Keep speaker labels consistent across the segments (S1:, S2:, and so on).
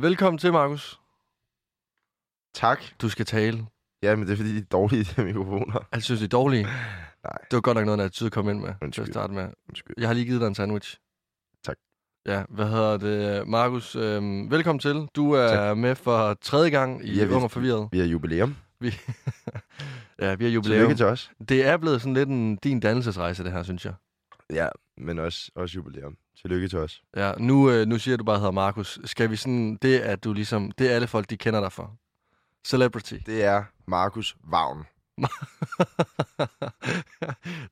S1: Velkommen til, Markus.
S2: Tak.
S1: Du skal tale.
S2: Ja, men det er fordi, de er dårlige, de her mikrofoner.
S1: Jeg synes, det er dårligt.
S2: Nej.
S1: Det var godt nok noget, der tyder at komme ind med til at
S2: Undskyld.
S1: starte med.
S2: Undskyld.
S1: Jeg har lige givet dig en sandwich.
S2: Tak.
S1: Ja, hvad hedder det? Markus, øh, velkommen til. Du er tak. med for tredje gang i
S2: Ja, vi-
S1: Ung og Forvirret.
S2: Vi har jubilæum.
S1: Ja, vi har
S2: Tillykke
S1: jubilæum.
S2: til os.
S1: Det er blevet sådan lidt en, din dannelsesrejse, det her, synes jeg.
S2: Ja, men også, også jubilæum. Tillykke til os.
S1: Ja, nu, øh, nu siger du bare, at jeg hedder Markus. Skal vi sådan, det at du ligesom, det er alle folk, de kender dig for. Celebrity.
S2: Det er Markus Vagn.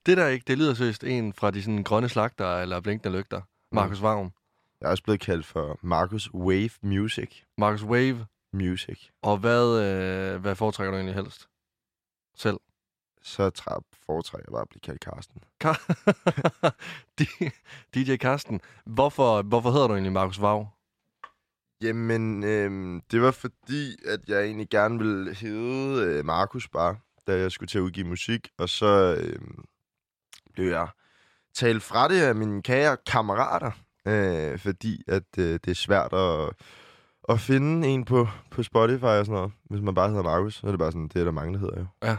S1: det der ikke, det lyder seriøst en fra de sådan grønne slagter eller blinkende lygter. Markus Vagn.
S2: Jeg er også blevet kaldt for Markus Wave Music.
S1: Markus Wave.
S2: Music.
S1: Og hvad, øh, hvad foretrækker du egentlig helst? Selv.
S2: Så trap foretrækker jeg bare at blive kaldt Karsten.
S1: Ka- D- DJ Karsten. Hvorfor, hvorfor hedder du egentlig Markus Vagn?
S2: Jamen, øhm, det var fordi, at jeg egentlig gerne ville hedde øh, Markus bare, da jeg skulle til at udgive musik. Og så øhm, blev jeg talt fra det af mine kære kammerater, øh, fordi at øh, det er svært at, at finde en på, på Spotify og sådan noget. Hvis man bare hedder Markus, så er det bare sådan, det er der mange, der hedder jo.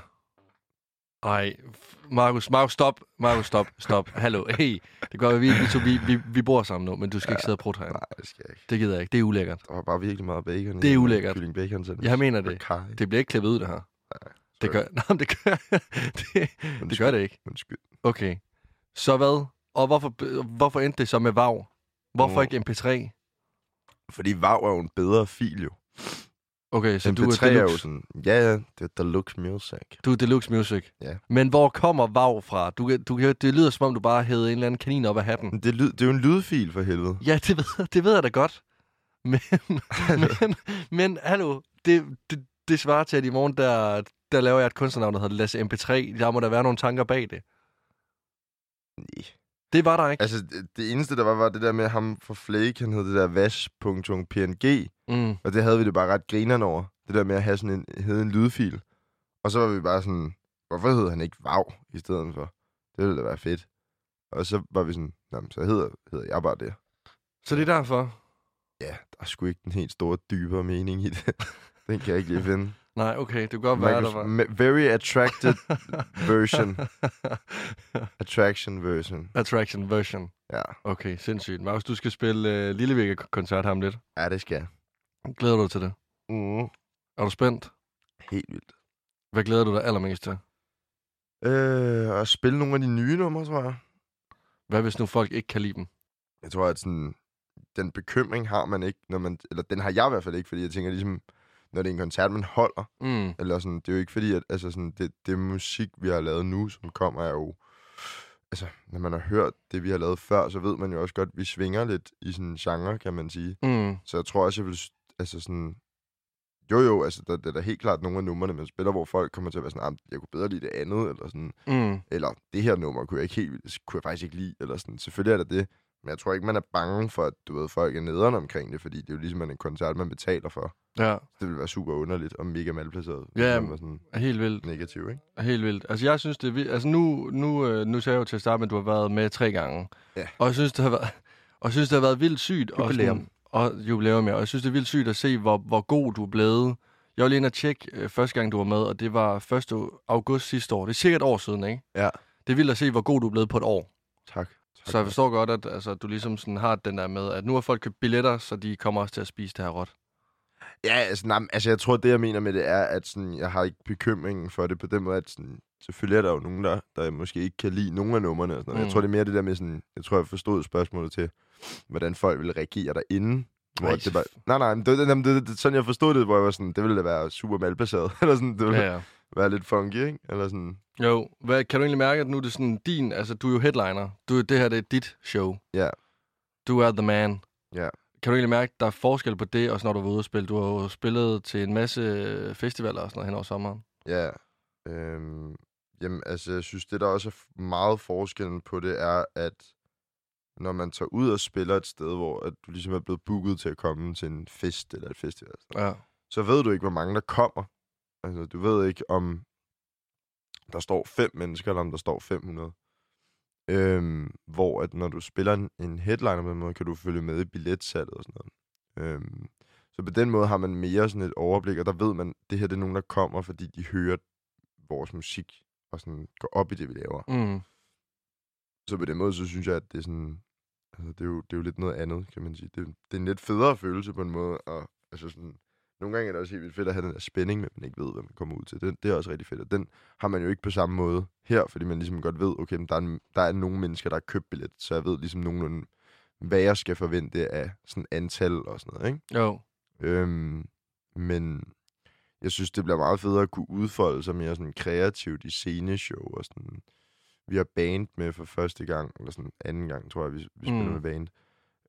S1: Ej, f- Markus, Markus, stop. Markus, stop, stop. Hallo, hey. Det gør, at vi, vi, to, vi, vi, vi bor sammen nu, men du skal ja, ikke sidde og prutte herinde.
S2: Nej, det skal jeg ikke.
S1: Det gider jeg ikke. Det er ulækkert.
S2: Der var bare virkelig meget bacon. i
S1: Det er
S2: den
S1: ulækkert.
S2: Kylling bacon sandwich.
S1: Jeg mener det.
S2: Og karry.
S1: Det bliver ikke klippet ud, det her. Det
S2: sorry.
S1: gør, nej, men det gør, det, det, gør det ikke.
S2: Undskyld.
S1: Okay. Så hvad? Og hvorfor, hvorfor endte det så med VAV? Hvorfor
S2: Åh.
S1: ikke MP3?
S2: Fordi VAV er jo en bedre fil jo.
S1: Okay, så
S2: Så
S1: du
S2: MP3
S1: er,
S2: er, jo
S1: deluxe,
S2: sådan, ja, ja, det er deluxe music.
S1: du er deluxe music.
S2: Ja.
S1: Men hvor kommer VAV fra? Du, kan- du, kan- det lyder som om, du bare hævede en eller anden kanin op af hatten.
S2: Men Det, lyd, det er jo en lydfil for helvede.
S1: Ja, det ved, det ved jeg da godt. Men, men, men hallo, det, det, det svarer til, at i morgen, der, der laver jeg et kunstnernavn, der hedder Lasse MP3. Der må der være nogle tanker bag det.
S2: Nej.
S1: Det var der ikke.
S2: Altså, det, det eneste, der var, var det der med ham fra Flake, han hed det der vas.png,
S1: Mm.
S2: og det havde vi det bare ret grinerne over. Det der med at have sådan en, hedde en lydfil. Og så var vi bare sådan, hvorfor hed han ikke Vav i stedet for? Det ville da være fedt. Og så var vi sådan, Nå, men så hedder, hedder jeg bare det.
S1: Så det er derfor.
S2: Ja, der er sgu ikke den helt store, dybere mening i det. Den kan jeg ikke lige finde.
S1: Nej, okay, det kan godt være, der
S2: Marcus,
S1: var.
S2: ma- very attracted version. Attraction version.
S1: Attraction version.
S2: Ja,
S1: Okay, sindssygt. Markus, du skal spille øh, Lillevigge-koncert ham lidt.
S2: ja det skal jeg.
S1: Glæder du dig til det?
S2: Mm.
S1: Er du spændt?
S2: Helt vildt.
S1: Hvad glæder du dig allermest til?
S2: Øh, og spille nogle af de nye numre, tror jeg.
S1: Hvad hvis nu folk ikke kan lide dem?
S2: Jeg tror, at sådan, den bekymring har man ikke, når man, eller den har jeg i hvert fald ikke, fordi jeg tænker ligesom, når det er en koncert, man holder,
S1: Mm.
S2: eller sådan, det er jo ikke fordi, at altså sådan, det, det musik, vi har lavet nu, som kommer, er jo, altså, når man har hørt det, vi har lavet før, så ved man jo også godt, at vi svinger lidt i sådan en genre, kan man sige.
S1: Mm.
S2: Så jeg tror også, jeg vil, s- altså sådan, jo jo, altså, der, der er da helt klart nogle af numrene, man spiller, hvor folk kommer til at være sådan, "Ah, jeg kunne bedre lide det andet, eller sådan,
S1: Mm.
S2: eller det her nummer kunne jeg ikke helt vildt- kunne jeg faktisk ikke lide, eller sådan. Selvfølgelig er der det, men jeg tror ikke, man er bange for, at du ved, folk er nederen omkring det, fordi det er jo ligesom en koncert, man betaler for.
S1: Ja,
S2: Det ville være super underligt og mega malplaceret,
S1: Ja,
S2: hvis man var sådan
S1: helt vildt.
S2: negativ, ikke?
S1: Helt vildt. Altså, jeg synes, det er vildt. Altså, nu, nu, øh, nu sagde jeg jo til at starte med, at du har været med tre gange.
S2: Ja.
S1: Og jeg synes, det har været, og jeg synes, det har været vildt sygt. og
S2: Jubilæum.
S1: sådan- Og jubilæum, ja. Og jeg synes, det er vildt sygt at se, hvor, hvor god du er blevet. Jeg var lige inde og tjekke øh, første gang, du var med, og det var 1. august sidste år. Det er cirka et år siden, ikke?
S2: Ja.
S1: Det er vildt at se, hvor god du er blevet på et år.
S2: Tak. tak
S1: Så jeg forstår godt, at altså, du ligesom sådan har den der med, at nu har folk købt billetter, så de kommer også til at spise det her råt.
S2: Ja, altså, nej, men, altså, jeg tror, det jeg mener med det er, at sådan, jeg har ikke bekymringen for det på den måde, at sådan, selvfølgelig er der jo nogen, der, der måske ikke kan lide nogen af numrene. Og sådan noget.
S1: Mm.
S2: Jeg tror, det er mere det der med sådan, jeg tror, jeg forstod spørgsmålet til, hvordan folk ville reagere derinde. Hvor
S1: Ej,
S2: det var, nej, nej, men det, det, jamen, det, det, sådan jeg forstod det, hvor jeg var sådan, det ville da være super malplaceret, eller sådan, det ville ja.
S1: Ja, ja.
S2: være lidt funky, ikke? Eller sådan,
S1: Jo, hvad, kan du egentlig mærke, at nu er det sådan din, altså du er jo headliner. Du, det her, det er dit show.
S2: Ja.
S1: Du er the man.
S2: Ja.
S1: Kan du egentlig mærke, at der er forskel på det, også når du var ude og spille? Du har jo spillet til en masse øh, festivaler og sådan noget hen over sommeren.
S2: ja. Øhm, jamen, altså, jeg synes, det der også er f- meget forskellen på det, er, at når man tager ud og spiller et sted, hvor at du ligesom er blevet booket til at komme til en fest eller et festival,
S1: Ja.
S2: så ved du ikke, hvor mange der kommer. Altså, du ved ikke, om der står fem mennesker, eller om der står 500. Øhm, hvor at når du spiller en, en headliner på den måde, kan du følge med i billetsalget og sådan noget. Øhm, så Så på den måde har man mere sådan et overblik, og der ved man, det her det er nogen, der kommer, fordi de hører vores musik og sådan går op i det, vi laver.
S1: Mm.
S2: Så på den måde, så synes jeg, at det er sådan... Altså, det er jo, det er jo lidt noget andet, kan man sige. Det, det er en lidt federe følelse på en måde, og altså sådan... Nogle gange er det også helt vildt fedt at have den der spænding, men man ikke ved, hvad man kommer ud til. Det, det er også rigtig fedt, og den har man jo ikke på samme måde her, fordi man ligesom godt ved, okay, men der, er en, der er nogle mennesker, der har købt billet, så jeg ved ligesom nogenlunde, hvad jeg skal forvente af sådan antal og sådan noget, ikke?
S1: Jo.
S2: Øhm, men jeg synes, det bliver meget federe at kunne udfolde sig mere sådan kreativt i sceneshow og sådan. Vi har band med for første gang, eller sådan anden gang, tror jeg, vi, vi spiller
S1: Mm.
S2: med band.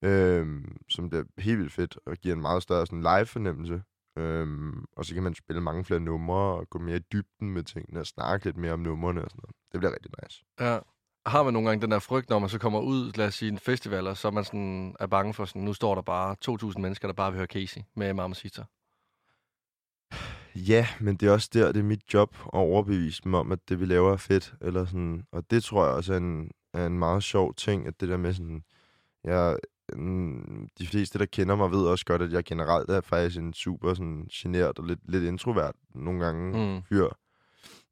S2: Øhm, som bliver helt vildt fedt og giver en meget større sådan live-fornemmelse. Øhm, og så kan man spille mange flere numre og gå mere i dybden med tingene og snakke lidt mere om numrene og sådan noget. Det bliver rigtig nice.
S1: Ja. Har man nogle gange den der frygt, når man så kommer ud, lad os sige, en festival, og så er man sådan, er bange for sådan, nu står der bare 2.000 mennesker, der bare vil høre Casey med Mama Sita.
S2: Ja, men det er også der, det er mit job at overbevise dem om, at det vi laver er fedt. Eller sådan. Og det tror jeg også er en, er en meget sjov ting, at det der med sådan... Jeg, mm, de fleste, der kender mig, ved også godt, at jeg generelt er faktisk en super sådan, genert og lidt, lidt introvert nogle gange
S1: Mm.
S2: fyr.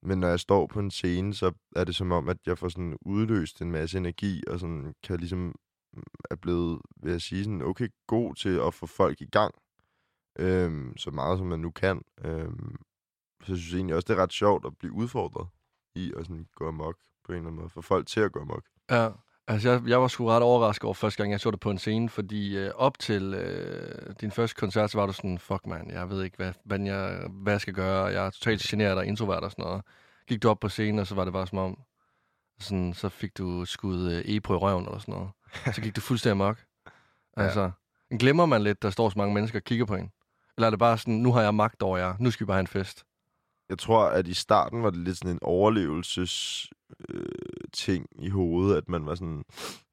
S2: Men når jeg står på en scene, så er det som om, at jeg får sådan udløst en masse energi, og sådan kan ligesom mm, er blevet, vil jeg sige, sådan okay god til at få folk i gang. Øhm, så meget som man nu kan. Øhm, så jeg synes egentlig også, det er ret sjovt at blive udfordret i at sådan gå amok på en eller anden måde. Få folk til at gå amok.
S1: Ja, altså jeg, jeg var sgu ret overrasket over første gang, jeg så det på en scene, fordi øh, op til øh, din første koncert, så var du sådan, fuck man, jeg ved ikke, hvad, hvad, jeg, hvad jeg skal gøre, jeg er totalt generet og introvert og sådan noget. Gik du op på scenen, og så var det bare som om, sådan, så fik du skudt øh, e på i røven eller sådan noget. Så gik du fuldstændig mok. Altså, ja. glemmer man lidt, der står så mange mennesker og kigger på en? Eller er det bare sådan, nu har jeg magt over jer, nu skal vi bare have en fest?
S2: Jeg tror, at i starten var det lidt sådan en overlevelses øh, ting i hovedet, at man var sådan,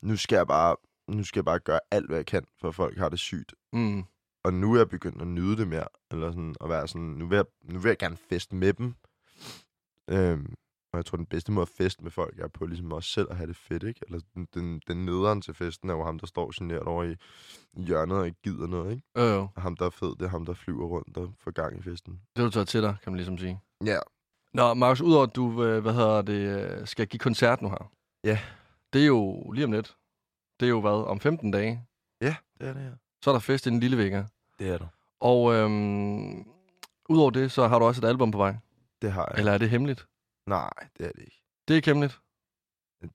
S2: nu skal jeg bare nu skal jeg bare gøre alt, hvad jeg kan, for at folk har det sygt.
S1: Mm,
S2: og nu er jeg begyndt at nyde det mere, eller sådan, at være sådan, nu vil jeg, nu vil jeg gerne feste med dem. Øhm, og jeg tror, den bedste måde at feste med folk er på ligesom også selv at have det fedt, ikke? Eller den, den, den nederen til festen er jo ham, der står generet over i i hjørnet og ikke gider noget, ikke?
S1: jo, jo,
S2: Og ham, der er fed, det er ham, der flyver rundt og får gang i festen.
S1: det har du taget til dig, kan man ligesom sige.
S2: Ja.
S1: Nå, Markus, udover at du, øh, hvad hedder det, øh, skal give koncert nu her.
S2: Ja.
S1: Det er jo lige om lidt. Det er jo hvad, om 15 dage.
S2: Ja, det er det her.
S1: Så er der fest i den lille vægge.
S2: Det er der.
S1: Og øhm, udover det, så har du også et album på vej.
S2: Det har jeg.
S1: Eller er det hemmeligt?
S2: Nej, det er det ikke.
S1: Det er ikke hemmeligt.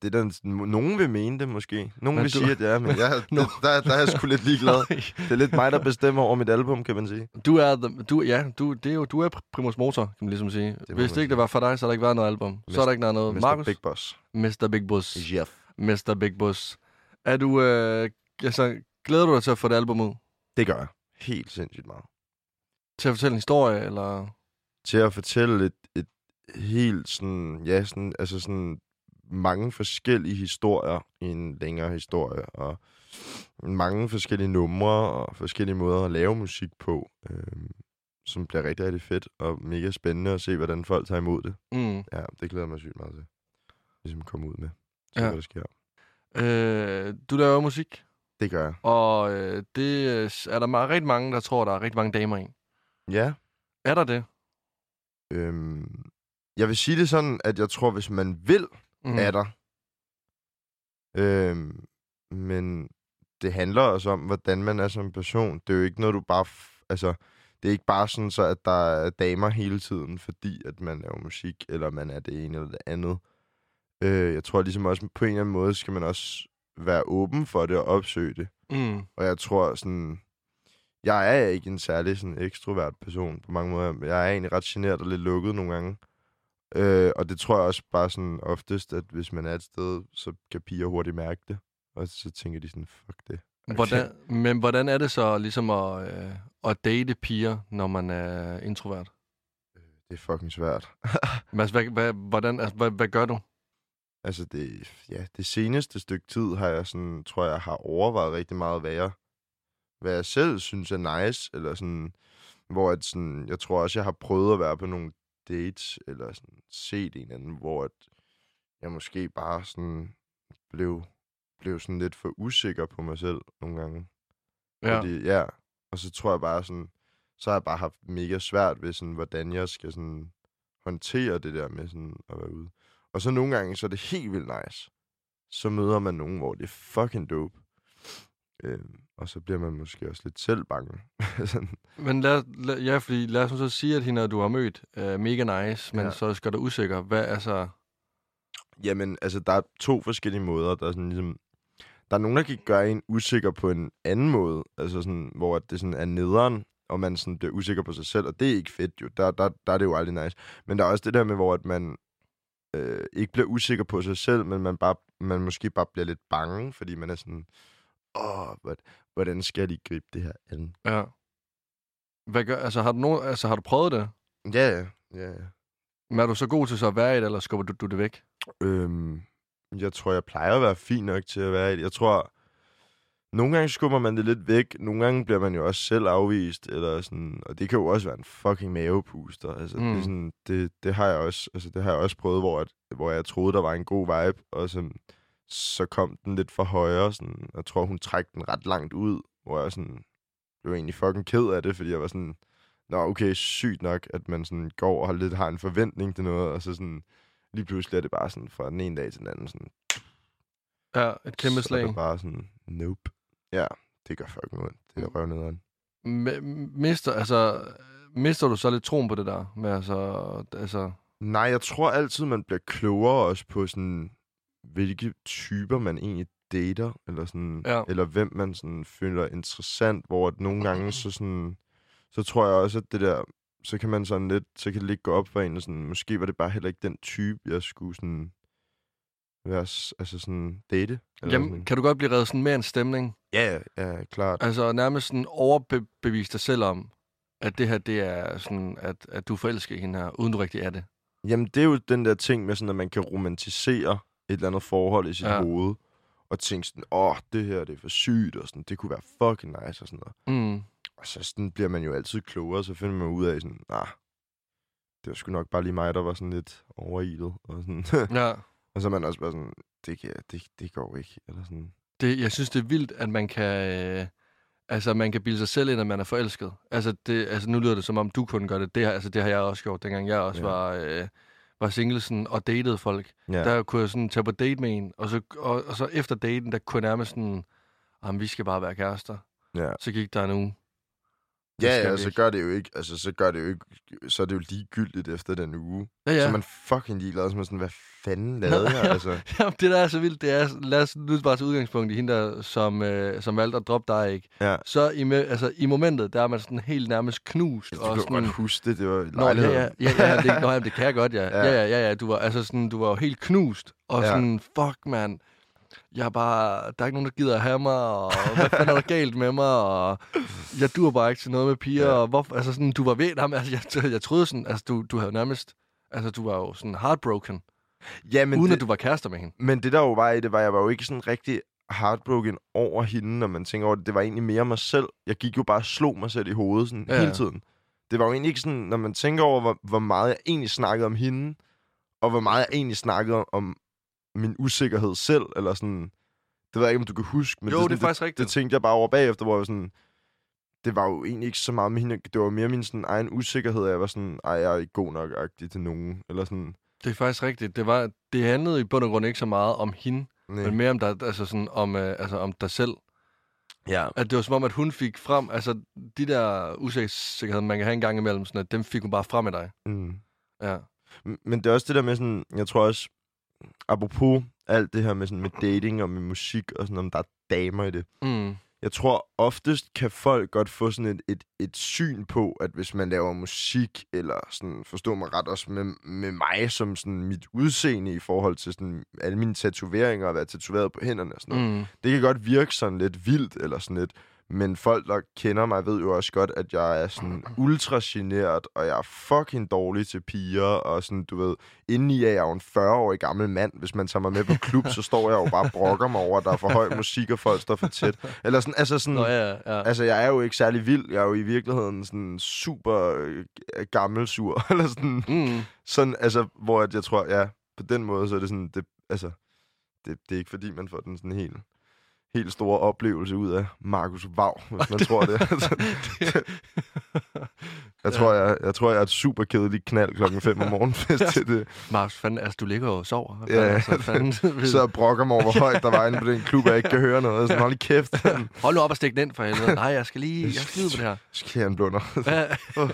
S2: Det er der, nogen vil mene det måske. Nogen
S1: Men
S2: vil
S1: du-
S2: sige, at det er, men jeg,
S1: Nå.
S2: det, der, der er jeg sgu lidt ligeglad. Det er lidt mig, der bestemmer over mit album, kan man sige.
S1: Du er, the, du, ja, du, det er jo, du er primus motor, kan man ligesom sige.
S2: må
S1: Det Hvis
S2: man
S1: det ikke
S2: sige.
S1: det var for dig, så har der ikke været noget album. Mest, så har der ikke været noget.
S2: Mr.
S1: Markus,
S2: Big Boss.
S1: Mr. Big Bus.
S2: Jeff.
S1: Mr. Big Bus. Er du, øh, altså, glæder du dig til at få det album ud?
S2: Det gør jeg. Helt sindssygt meget.
S1: Til at fortælle en historie, eller?
S2: Til at fortælle et, et helt sådan, ja, sådan, altså sådan mange forskellige historier i en længere historie, og mange forskellige numre og forskellige måder at lave musik på, øh, som bliver rigtig, rigtig fedt og mega spændende at se, hvordan folk tager imod det.
S1: Mm.
S2: Ja, det glæder jeg mig sygt meget til. Ligesom komme ud med.
S1: Ja.
S2: Se, ja. hvad der sker.
S1: Øh, du laver jo musik,
S2: Det gør jeg.
S1: og øh, det øh, er der meget, rigtig mange, der tror, der er rigtig mange damer i.
S2: Ja.
S1: Er der det?
S2: Øhm, jeg vil sige det sådan, at jeg tror, hvis man vil,
S1: Mm.
S2: er der. Øhm, men det handler også om, hvordan man er som person. Det er jo ikke noget, du bare... F- altså, det er ikke bare sådan så, at der er damer hele tiden, fordi at man laver musik, eller man er det ene eller det andet. Øh, jeg tror ligesom også, på en eller anden måde skal man også være åben for det og opsøge det.
S1: Mm.
S2: Og jeg tror sådan... Jeg er ikke en særlig sådan ekstrovert person på mange måder. Jeg er egentlig ret generet og lidt lukket nogle gange. Øh, og det tror jeg også bare sådan oftest, at hvis man er et sted, så kan piger hurtigt mærke det. Og så tænker de sådan, fuck det. Altså,
S1: Hvordan, men hvordan er det så ligesom at, øh, at date piger, når man er introvert?
S2: Det er fucking svært.
S1: Men altså, hvad, hvad, hvordan, altså, hvad, hvad gør du?
S2: Altså det, ja, det seneste stykke tid har jeg sådan, tror jeg, har overvejet rigtig meget, hvad jeg, hvad jeg selv synes er nice, eller sådan, hvor at sådan, jeg tror også, jeg har prøvet at være på nogle dates, eller sådan, set en anden, hvor at jeg måske bare sådan blev, blev sådan lidt for usikker på mig selv nogle gange.
S1: Ja.
S2: Fordi, ja. Og så tror jeg bare sådan, så har jeg bare haft mega svært ved, sådan, hvordan jeg skal sådan, håndtere det der med sådan, at være ude. Og så nogle gange, så er det helt vildt nice. Så møder man nogen, hvor det er fucking dope. Øhm, og så bliver man måske også lidt selv bange. sådan,
S1: Men lad, lad, ja, fordi lad os nu så sige, at hende, du har mødt, er mega nice, men
S2: Ja.
S1: ja. så skal du usikker. Hvad, altså,
S2: Jamen, altså, der er to forskellige måder. Der er sådan ligesom... Der er nogen, der kan gøre en usikker på en anden måde, altså sådan, hvor at det sådan er nederen, og man sådan bliver usikker på sig selv, og det er ikke fedt jo. Der, der, der er det jo aldrig nice. Men der er også det der med, hvor at man øh, ikke bliver usikker på sig selv, men man, bare, man måske bare bliver lidt bange, fordi man er sådan, åh, hvor- hvordan skal jeg lige gribe det her an?
S1: ja. Hvad gør, altså, har du nogen, altså, har du prøvet det?
S2: Ja, ja, ja. ja.
S1: Men er du så god til så at være i det, eller skubber du, du det væk?
S2: Øhm, jeg tror, jeg plejer at være fin nok til at være i det. Jeg tror, nogle gange skubber man det lidt væk. Nogle gange bliver man jo også selv afvist. Eller sådan, og det kan jo også være en fucking mavepuster. Altså, mm. det, er
S1: Mm.
S2: sådan, det, det, har jeg også, altså, det har jeg også prøvet, hvor, at, hvor jeg troede, der var en god vibe. Og sådan, så kom den lidt for højre. Sådan, jeg tror, hun trak den ret langt ud. Hvor jeg sådan, blev egentlig fucking ked af det, fordi jeg var sådan... Nå, okay, sygt nok, at man sådan går og har lidt har en forventning til noget, og så sådan lige pludselig er det bare sådan fra den ene dag til den anden. Sådan,
S1: Ja, et kæmpe
S2: så er
S1: slag.
S2: det bare sådan, nope. Ja, det gør fucking ondt. Det er
S1: Mm.
S2: røvnederen.
S1: M- mister, altså, mister du så lidt troen på det der? Med, altså, altså,
S2: Nej, jeg tror altid, man bliver klogere også på sådan, hvilke typer man egentlig dater, eller, sådan,
S1: Ja.
S2: eller hvem man sådan føler interessant, hvor at nogle gange så sådan, så tror jeg også, at det der, så kan man sådan lidt, så kan det lidt gå op for en, og sådan, måske var det bare heller ikke den type, jeg skulle sådan, være, s- altså sådan, date. eller
S1: jamen,
S2: sådan.
S1: kan du godt blive reddet sådan mere en stemning?
S2: Ja, ja, klart.
S1: Altså nærmest sådan overbevise dig selv om, at det her, det er sådan, at, at du forelsker hende her, uden du rigtig er det.
S2: Jamen, det er jo den der ting med sådan, at man kan romantisere et eller andet forhold i sit ja.
S1: Ja.
S2: hoved, og tænke sådan, åh, det her, det er for sygt, og sådan, det kunne være fucking nice, og sådan noget.
S1: Mm.
S2: Og så sådan bliver man jo altid klogere, og så finder man ud af sådan, ah, det var sgu nok bare lige mig, der var sådan lidt overilet, og sådan.
S1: Ja.
S2: og så er man også bare sådan, det, kan, det, det går ikke, eller sådan.
S1: Det, jeg synes, det er vildt, at man kan... Øh, altså, man kan bilde sig selv ind, at man er forelsket. Altså, det, altså nu lyder det, som om du kun gør det. Det, her, altså, det har jeg også gjort, dengang jeg også
S2: Ja.
S1: ja. var, øh, var singlesen og datede folk.
S2: Ja,
S1: Ja. Der kunne jeg sådan tage på date med en, og så, og, og så efter daten, der kunne jeg nærmest sådan... Jamen, vi skal bare være kærester.
S2: ja.
S1: Så gik der en uge. Det
S2: ja,
S1: skal
S2: ja
S1: vi
S2: så
S1: ikke.
S2: gør det jo ikke, altså, så gør det jo ikke, så er det jo ligegyldigt efter den uge.
S1: Ja,
S2: Ja. Så
S1: ja.
S2: er man fucking ligeglad, så er man sådan, hvad fanden lavede jeg,
S1: ja.
S2: altså.
S1: Jamen, det der er så vildt, det er, lad os nu bare tage udgangspunkt i hende der, som, øh, som valgte at droppe dig, ikke?
S2: Ja.
S1: Så i, me- altså, i momentet, der er man sådan helt nærmest knust.
S2: Ja, Du
S1: og
S2: kan jo
S1: sådan,
S2: godt huske Altså, det, det var
S1: Nå, ja,
S2: lejligheden.
S1: ja, ja, ja, det, nå, jamen, det kan jeg godt, ja.
S2: Ja.
S1: Ja, ja, ja, ja du var, altså sådan, du var jo helt knust, og
S2: Ja.
S1: ja. sådan, fuck, mand, jeg er bare, der er ikke nogen, der gider at have mig, og hvad fanden er der galt med mig, og jeg dur bare ikke til noget med piger,
S2: Ja.
S1: ja. og hvorfor, altså sådan, du var ved, jamen, altså, jeg, jeg troede sådan, altså, du, du havde nærmest, altså, du var jo sådan heartbroken,
S2: ja men,
S1: uden
S2: det,
S1: at du var kærester med hende.
S2: men det der jo var i det, var, at jeg var jo ikke sådan rigtig heartbroken over hende, når man tænker over det. Det var egentlig mere mig selv. Jeg gik jo bare og slog mig selv i hovedet sådan, ja.
S1: Ja.
S2: hele tiden. Det var jo egentlig ikke sådan, når man tænker over, hvor, hvor meget jeg egentlig snakkede om hende, og hvor meget jeg egentlig snakkede om, om min usikkerhed selv, eller sådan... Det ved jeg ikke, om du kan huske, men
S1: jo,
S2: det,
S1: det,
S2: er sådan,
S1: er faktisk rigtigt.
S2: det tænkte jeg bare over bagefter, hvor jeg var sådan, det var jo egentlig ikke så meget med hende. Det var mere min sådan, egen usikkerhed, at jeg var sådan, ej, jeg er ikke god nok agtig til nogen. Eller sådan,
S1: Det er faktisk rigtigt. Det, var, det handlede i bund og grund ikke så meget om hende,
S2: nej.
S1: Nej. men mere om dig, altså sådan, om, øh, altså om dig selv.
S2: ja.
S1: At det var som om, at hun fik frem, altså de der usikkerheder, man kan have en gang imellem, sådan at dem fik hun bare frem i dig.
S2: Mm.
S1: Ja.
S2: M- Men det er også det der med sådan, jeg tror også, apropos alt det her med, sådan, med dating og med musik og sådan, om der er damer i det.
S1: Mm.
S2: Jeg tror oftest kan folk godt få sådan et, et, et syn på, at hvis man laver musik, eller sådan, forstår mig ret også med, med mig som sådan mit udseende i forhold til sådan alle mine tatoveringer og at være tatoveret på hænderne og sådan noget.
S1: Mm.
S2: det kan godt virke sådan lidt vildt eller sådan lidt, men folk, der kender mig, ved jo også godt, at jeg er sådan ultra generet, og jeg er fucking dårlig til piger, og sådan, du ved, indeni er jeg jo en 40-årig gammel mand. Hvis man tager mig med på klub, så står jeg jo bare og brokker mig over, at der er for høj musik, og folk står for tæt. Eller sådan, altså sådan...
S1: Nå ja, ja.
S2: Altså, jeg er jo ikke særlig vild. Jeg er jo i virkeligheden sådan super øh, gammel sur. Eller sådan,
S1: Mm.
S2: sådan, altså, hvor at jeg tror, ja, på den måde, så er det sådan, det, altså, det, det er ikke fordi, man får den sådan helt, helt store oplevelse ud af Markus Vav, hvis man tror det. Altså,
S1: Det-
S2: Jeg,
S1: Ja.
S2: tror, jeg, jeg tror, jeg er et super kedeligt knald klokken 5 om morgenen, hvis det er det.
S1: Markus, fanden, altså, du ligger jo og sover. Hvad
S2: Ja.
S1: fanden, altså, fanden,
S2: Så jeg brokker mig over, hvor højt der var inde på den klub, og jeg ikke kan høre noget. Sådan, hold lige kæft.
S1: Hold nu op og stik den ind for helvede. Nej, jeg skal lige... Jeg skal skide på det her.
S2: Så kan jeg en blunder.
S1: Hvad-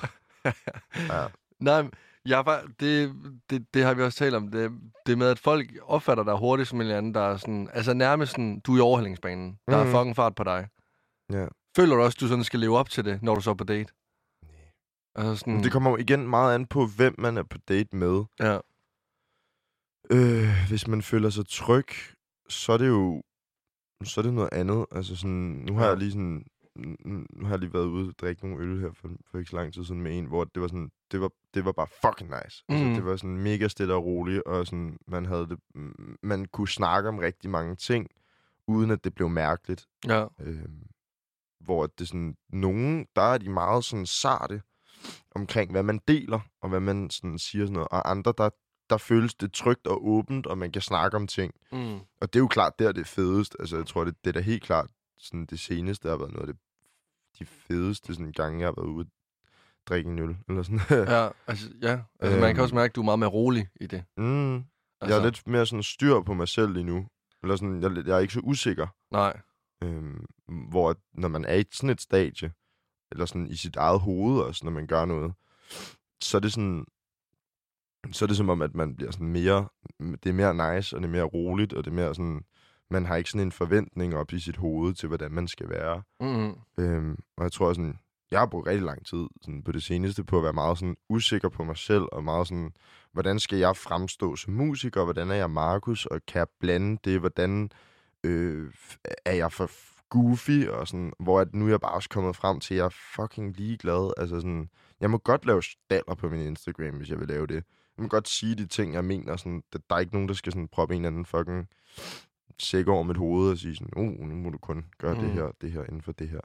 S2: Ja.
S1: Nej, men jeg var, det, det, det har vi også talt om. Det, det med, at folk opfatter dig hurtigt som en eller anden, der er sådan... Altså nærmest sådan, du er i overhældningsbanen. Der er
S2: Mhm.
S1: fucking fart på dig.
S2: Ja.
S1: Føler du også, at du sådan skal leve op til det, når du så er på date? Altså sådan,
S2: Men Det kommer jo igen meget an på, hvem man er på date med.
S1: ja.
S2: Øh, hvis man føler sig tryg, så er det jo så er det noget andet. Altså sådan, nu har
S1: Ja.
S2: jeg lige sådan, nu- nu har jeg lige været ude og drikke nogle øl her for, for ikke så lang tid siden med en, hvor det var sådan, det var, det var bare fucking nice. Altså,
S1: Mhm.
S2: det var sådan mega stille og roligt, og sådan, man, havde det, mm, man kunne snakke om rigtig mange ting, uden at det blev mærkeligt.
S1: Ja,
S2: Øh, hvor at det er sådan, nogen, der er de meget sådan sarte omkring, hvad man deler, og hvad man sådan siger sådan noget, og andre, der, der føles det trygt og åbent, og man kan snakke om ting.
S1: mm.
S2: Og det er jo klart, der er det fedest. Altså, jeg tror, det, det er da helt klart sådan det seneste, der har været noget af det, de fedeste sådan, gange, jeg har været ude og drikke en øl, eller sådan.
S1: ja, altså, ja. Altså, man kan
S2: Øhm.
S1: også mærke, at du er meget mere rolig i det.
S2: mm,
S1: Altså,
S2: jeg er lidt mere sådan styr på mig selv lige nu. Eller sådan, jeg, er lidt- jeg er ikke så usikker.
S1: Nej,
S2: Øhm, hvor at når man er i sådan et stadie, eller sådan i sit eget hoved også, når man gør noget, så er det sådan, så er det som om, at man bliver sådan mere, det er mere nice, og det er mere roligt, og det er mere sådan, man har ikke sådan en forventning op i sit hoved til, hvordan man skal være.
S1: mm,
S2: Øhm, og jeg tror sådan, jeg har brugt rigtig lang tid sådan på det seneste på at være meget sådan usikker på mig selv, og meget sådan, hvordan skal jeg fremstå som musiker, hvordan er jeg Markus, og kan jeg blande det, hvordan øh, er jeg for goofy, og sådan, hvor at nu er jeg bare også kommet frem til, at jeg er fucking ligeglad. Altså sådan, jeg må godt lave staller på min Instagram, hvis jeg vil lave det. Jeg må godt sige de ting, jeg mener. Sådan, der, der er ikke nogen, der skal sådan proppe en eller anden fucking sæk over mit hoved og sige sådan, oh, nu må du kun gøre mm.
S1: Mm.
S2: det her, det her, inden for det her.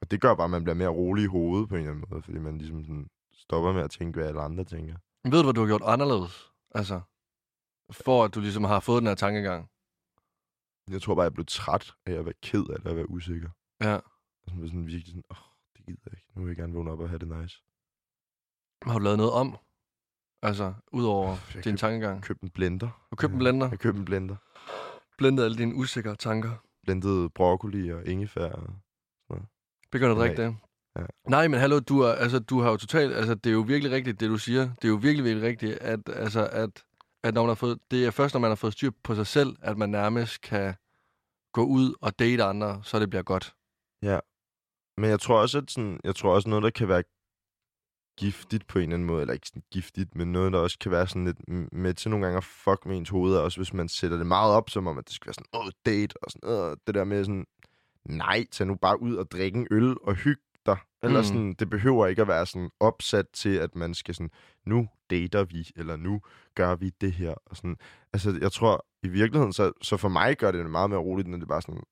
S2: Og det gør bare, at man bliver mere rolig i hovedet på en eller anden måde, fordi man ligesom sådan stopper med at tænke, hvad alle andre tænker.
S1: Ved du, hvad du har gjort anderledes? Altså, for at du ligesom har fået den her tankegang.
S2: Jeg tror bare, jeg blev træt af at være ked af det, at være usikker.
S1: Ja.
S2: Og sådan, blev sådan virkelig sådan, åh, oh, det gider jeg ikke. Nu vil jeg gerne vågne op og have det nice.
S1: Har du lavet noget om? Altså, udover
S2: Jeg
S1: din
S2: køb-
S1: tankegang.
S2: Jeg købte en blender.
S1: Du købte en blender.
S2: Jeg købte en blender.
S1: Blendet alle dine usikre tanker.
S2: Blendede broccoli og ingefær. og-
S1: Begynder at
S2: Nej.
S1: drikke det.
S2: Ja.
S1: Nej, men hallo, du, er, altså, du har jo totalt... Altså, det er jo virkelig rigtigt, det du siger. Det er jo virkelig, virkelig rigtigt, at, altså, at, at når man har fået, det er først, når man har fået styr på sig selv, at man nærmest kan gå ud og date andre, så det bliver godt.
S2: Men jeg tror også, at sådan, jeg tror også noget, der kan være giftigt på en eller anden måde, eller ikke sådan giftigt, men noget, der også kan være sådan lidt m- med til nogle gange at fuck med ens hoved, er også hvis man sætter det meget op, som om, at det skal være sådan, åh, date, og sådan, åh, det der med sådan, nej, tag nu bare ud og drikke en øl og hygge dig. Eller
S1: Mm.
S2: mm. sådan, det behøver ikke at være sådan opsat til, at man skal sådan, nu dater vi, eller nu gør vi det her, og sådan. Altså, jeg tror, i virkeligheden, så, så for mig gør det det meget mere roligt, når det er bare sådan,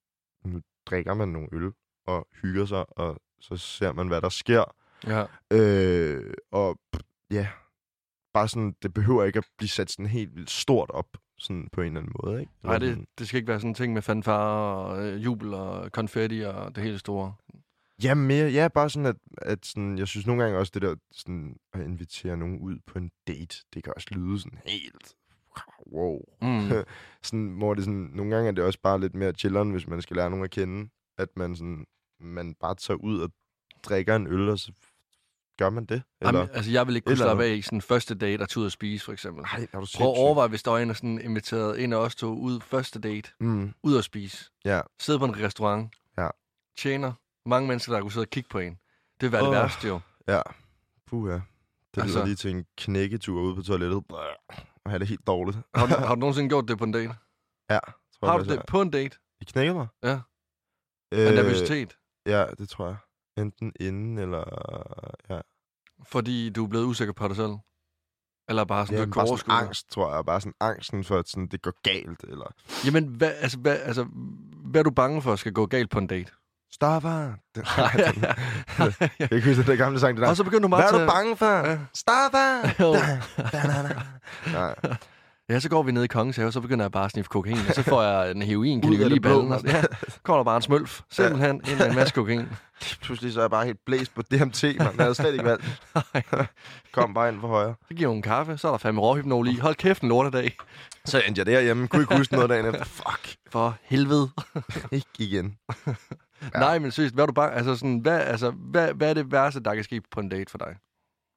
S2: nu drikker man nogle øl, og hygger sig, og så ser man, hvad der sker.
S1: Ja.
S2: Øh, og p- ja, bare sådan, det behøver ikke at blive sat sådan helt vildt stort op, sådan på en eller anden måde, ikke? Øhm,
S1: Nej,
S2: Eller
S1: det,
S2: sådan-
S1: det skal ikke være sådan en ting med fanfare og øh, jubel og konfetti og det hele store.
S2: Ja, mere, ja, bare sådan, at, at sådan, jeg synes nogle gange også, det der sådan, at invitere nogen ud på en date, det kan også lyde sådan helt, wow.
S1: Mm.
S2: Sådan, hvor det sådan, nogle gange er det også bare lidt mere chilleren, hvis man skal lære nogen at kende, at man sådan, man bare tager ud og drikker en øl, og så gør man det, eller?
S1: Jamen, altså, jeg vil ikke kunne
S2: eller
S1: slappe af i sådan en første date og tage ud og spise, for eksempel.
S2: Ej, er du
S1: Prøv at
S2: sindssyg?
S1: overveje, hvis der var en, der sådan inviterede en af os to ud første date,
S2: Mm,
S1: ud og spise.
S2: ja.
S1: sidde på en restaurant,
S2: Ja.
S1: tjener mange mennesker, der kunne sidde og kigge på en. Det var det
S2: Åh.
S1: værste jo.
S2: Ja. Puh, ja. Det altså...
S1: Altså-
S2: lyder lige til en knækketur ude på toilettet. Brr, Og have det helt dårligt.
S1: Har du, har du nogensinde gjort det på en date?
S2: Ja. Tror
S1: Har
S2: jeg,
S1: du det på en date?
S2: I knækkede mig?
S1: Ja. Øh... Af
S2: Øh,
S1: nervøsitet?
S2: ja, det tror jeg. Enten inden, eller... Ja.
S1: Fordi du er blevet usikker på dig selv? Eller bare sådan,
S2: ja
S1: du ikke
S2: bare
S1: kunne
S2: sådan
S1: overskue det?
S2: angst, tror jeg. Bare sådan angsten for, at sådan, det går galt, eller...
S1: Jamen, hvad, altså, hvad, altså, hvad er du bange for, skal gå galt på en date?
S2: Stopper! Det, Nej, den- jeg kan ikke huske, at det gamle sang, det der.
S1: og så begynder du
S2: Hvad
S1: bare
S2: er
S1: til...
S2: du bange for?
S1: Ja.
S2: Stopper!
S1: Jo.
S2: Da, da, da, da. Nej.
S1: Ja, så går vi ned i Kongens Have, så begynder jeg bare at sniffe kokain, og så får jeg en heroin, kan
S2: Ud af
S1: lige i
S2: det blå,
S1: ballen. Og, ja, så kommer der bare en smølf, simpelthen, ind med en masse kokain.
S2: Pludselig så er jeg bare helt blæst på DMT, man. Det havde jeg slet ikke valgt. Kom bare ind for højre.
S1: Så giver hun en kaffe, så er der fandme råhypnol i. Hold kæft, en lortedag.
S2: Så endte jeg derhjemme. Kunne ikke huske noget dagen efter. Fuck.
S1: For helvede.
S2: Ikke igen.
S1: Ja.
S2: Ja.
S1: Nej, men seriøst, hvad er du bange? Altså, sådan, hvad, altså, hvad, hvad er det værste, der kan ske på en date for dig?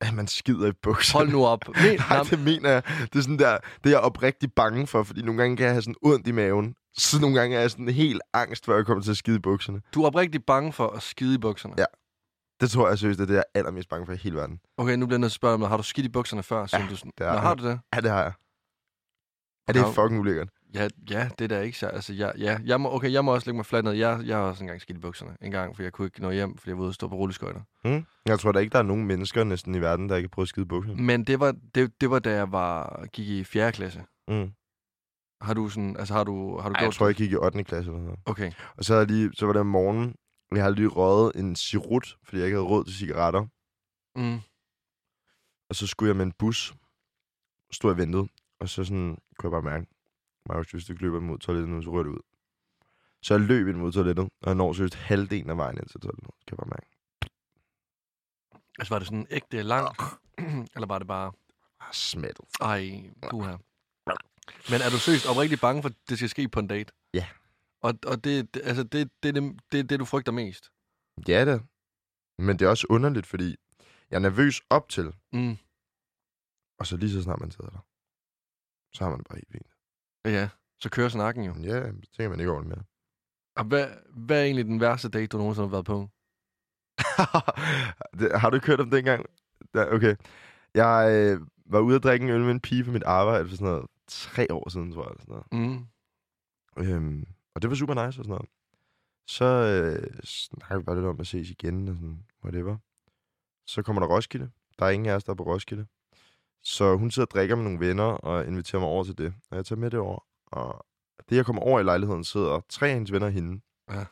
S2: At man skider i bukserne.
S1: Hold nu op. Men,
S2: Nej, det mener jeg. Det er sådan der, det er jeg oprigtigt bange for, fordi nogle gange kan jeg have sådan ondt i maven. Så nogle gange er jeg sådan helt angst, før jeg kommer til at skide i bukserne.
S1: du er oprigtigt bange for at skide i bukserne.
S2: Ja. Det tror jeg seriøst, det er det, jeg er allermest bange for i hele verden.
S1: Okay, nu bliver jeg nødt til at spørge dig, har du skidt i bukserne før? Ja, du sådan,
S2: det
S1: det Nå,
S2: har jeg.
S1: har du det?
S2: Ja, det har jeg. Ja, det er
S1: Wow.
S2: fucking ulækkert.
S1: Ja, ja, det er da ikke så. Altså, ja, ja. Jeg må, okay, jeg må også lægge mig fladt ned. Jeg, jeg har også engang skidt i bukserne. En gang, for jeg kunne ikke nå hjem, fordi jeg var ude og stå på rulleskøjter.
S2: Jeg tror da ikke, der er nogen mennesker næsten i verden, der ikke har prøvet at skide i bukserne.
S1: Men det var, det, det var da jeg var, gik i 4. klasse.
S2: Mm.
S1: Har du sådan, altså har du, har du
S2: Ej, jeg
S1: gjort
S2: tror, jeg gik i 8. klasse eller sådan noget.
S1: Okay.
S2: Og så, havde jeg lige, så var det om morgenen, og jeg havde lige røget en cirrut, fordi jeg ikke havde råd til cigaretter.
S1: Mm.
S2: Og så skulle jeg med en bus. Stod jeg og ventede. Og så sådan, kunne jeg bare mærke, Marius, hvis du ikke løber mod toilettet nu, så rører du ud. Så jeg løb ind mod toilettet, og jeg når seriøst halvdelen af vejen ind til toilettet. Kan jeg bare mærke.
S1: Altså var det sådan ægte langt? eller var det bare,
S2: Ah, smattet.
S1: ej, du her. Men er du seriøst oprigtigt bange for, at det skal ske på en date?
S2: Ja.
S1: Og, og det, det- altså, det, det, er det, det, er det, du frygter mest?
S2: Ja da. Men det er også underligt, fordi jeg er nervøs op til,
S1: Mm.
S2: og så lige så snart man sidder der, så har man det bare helt fint.
S1: Ja, så kører snakken jo.
S2: Ja, så tænker man ikke over det mere.
S1: Og hvad, hvad er egentlig den værste date, du nogensinde har været på?
S2: Det- har du kørt om dengang? Da, okay. Jeg øh, var ude at drikke en øl med en pige på mit arbejde for sådan noget tre år siden, tror jeg. Eller sådan noget.
S1: Mm.
S2: Øhm, og det var super nice og sådan noget. Så øh, snakker vi bare lidt om at ses igen og sådan, whatever. Så kommer der Roskilde. Der er ingen af os, der er på Roskilde. Så hun sidder og drikker med nogle venner og inviterer mig over til det. Og jeg tager med det over. Og det, jeg kommer over i lejligheden, sidder tre af hendes venner og hende.
S1: Ja.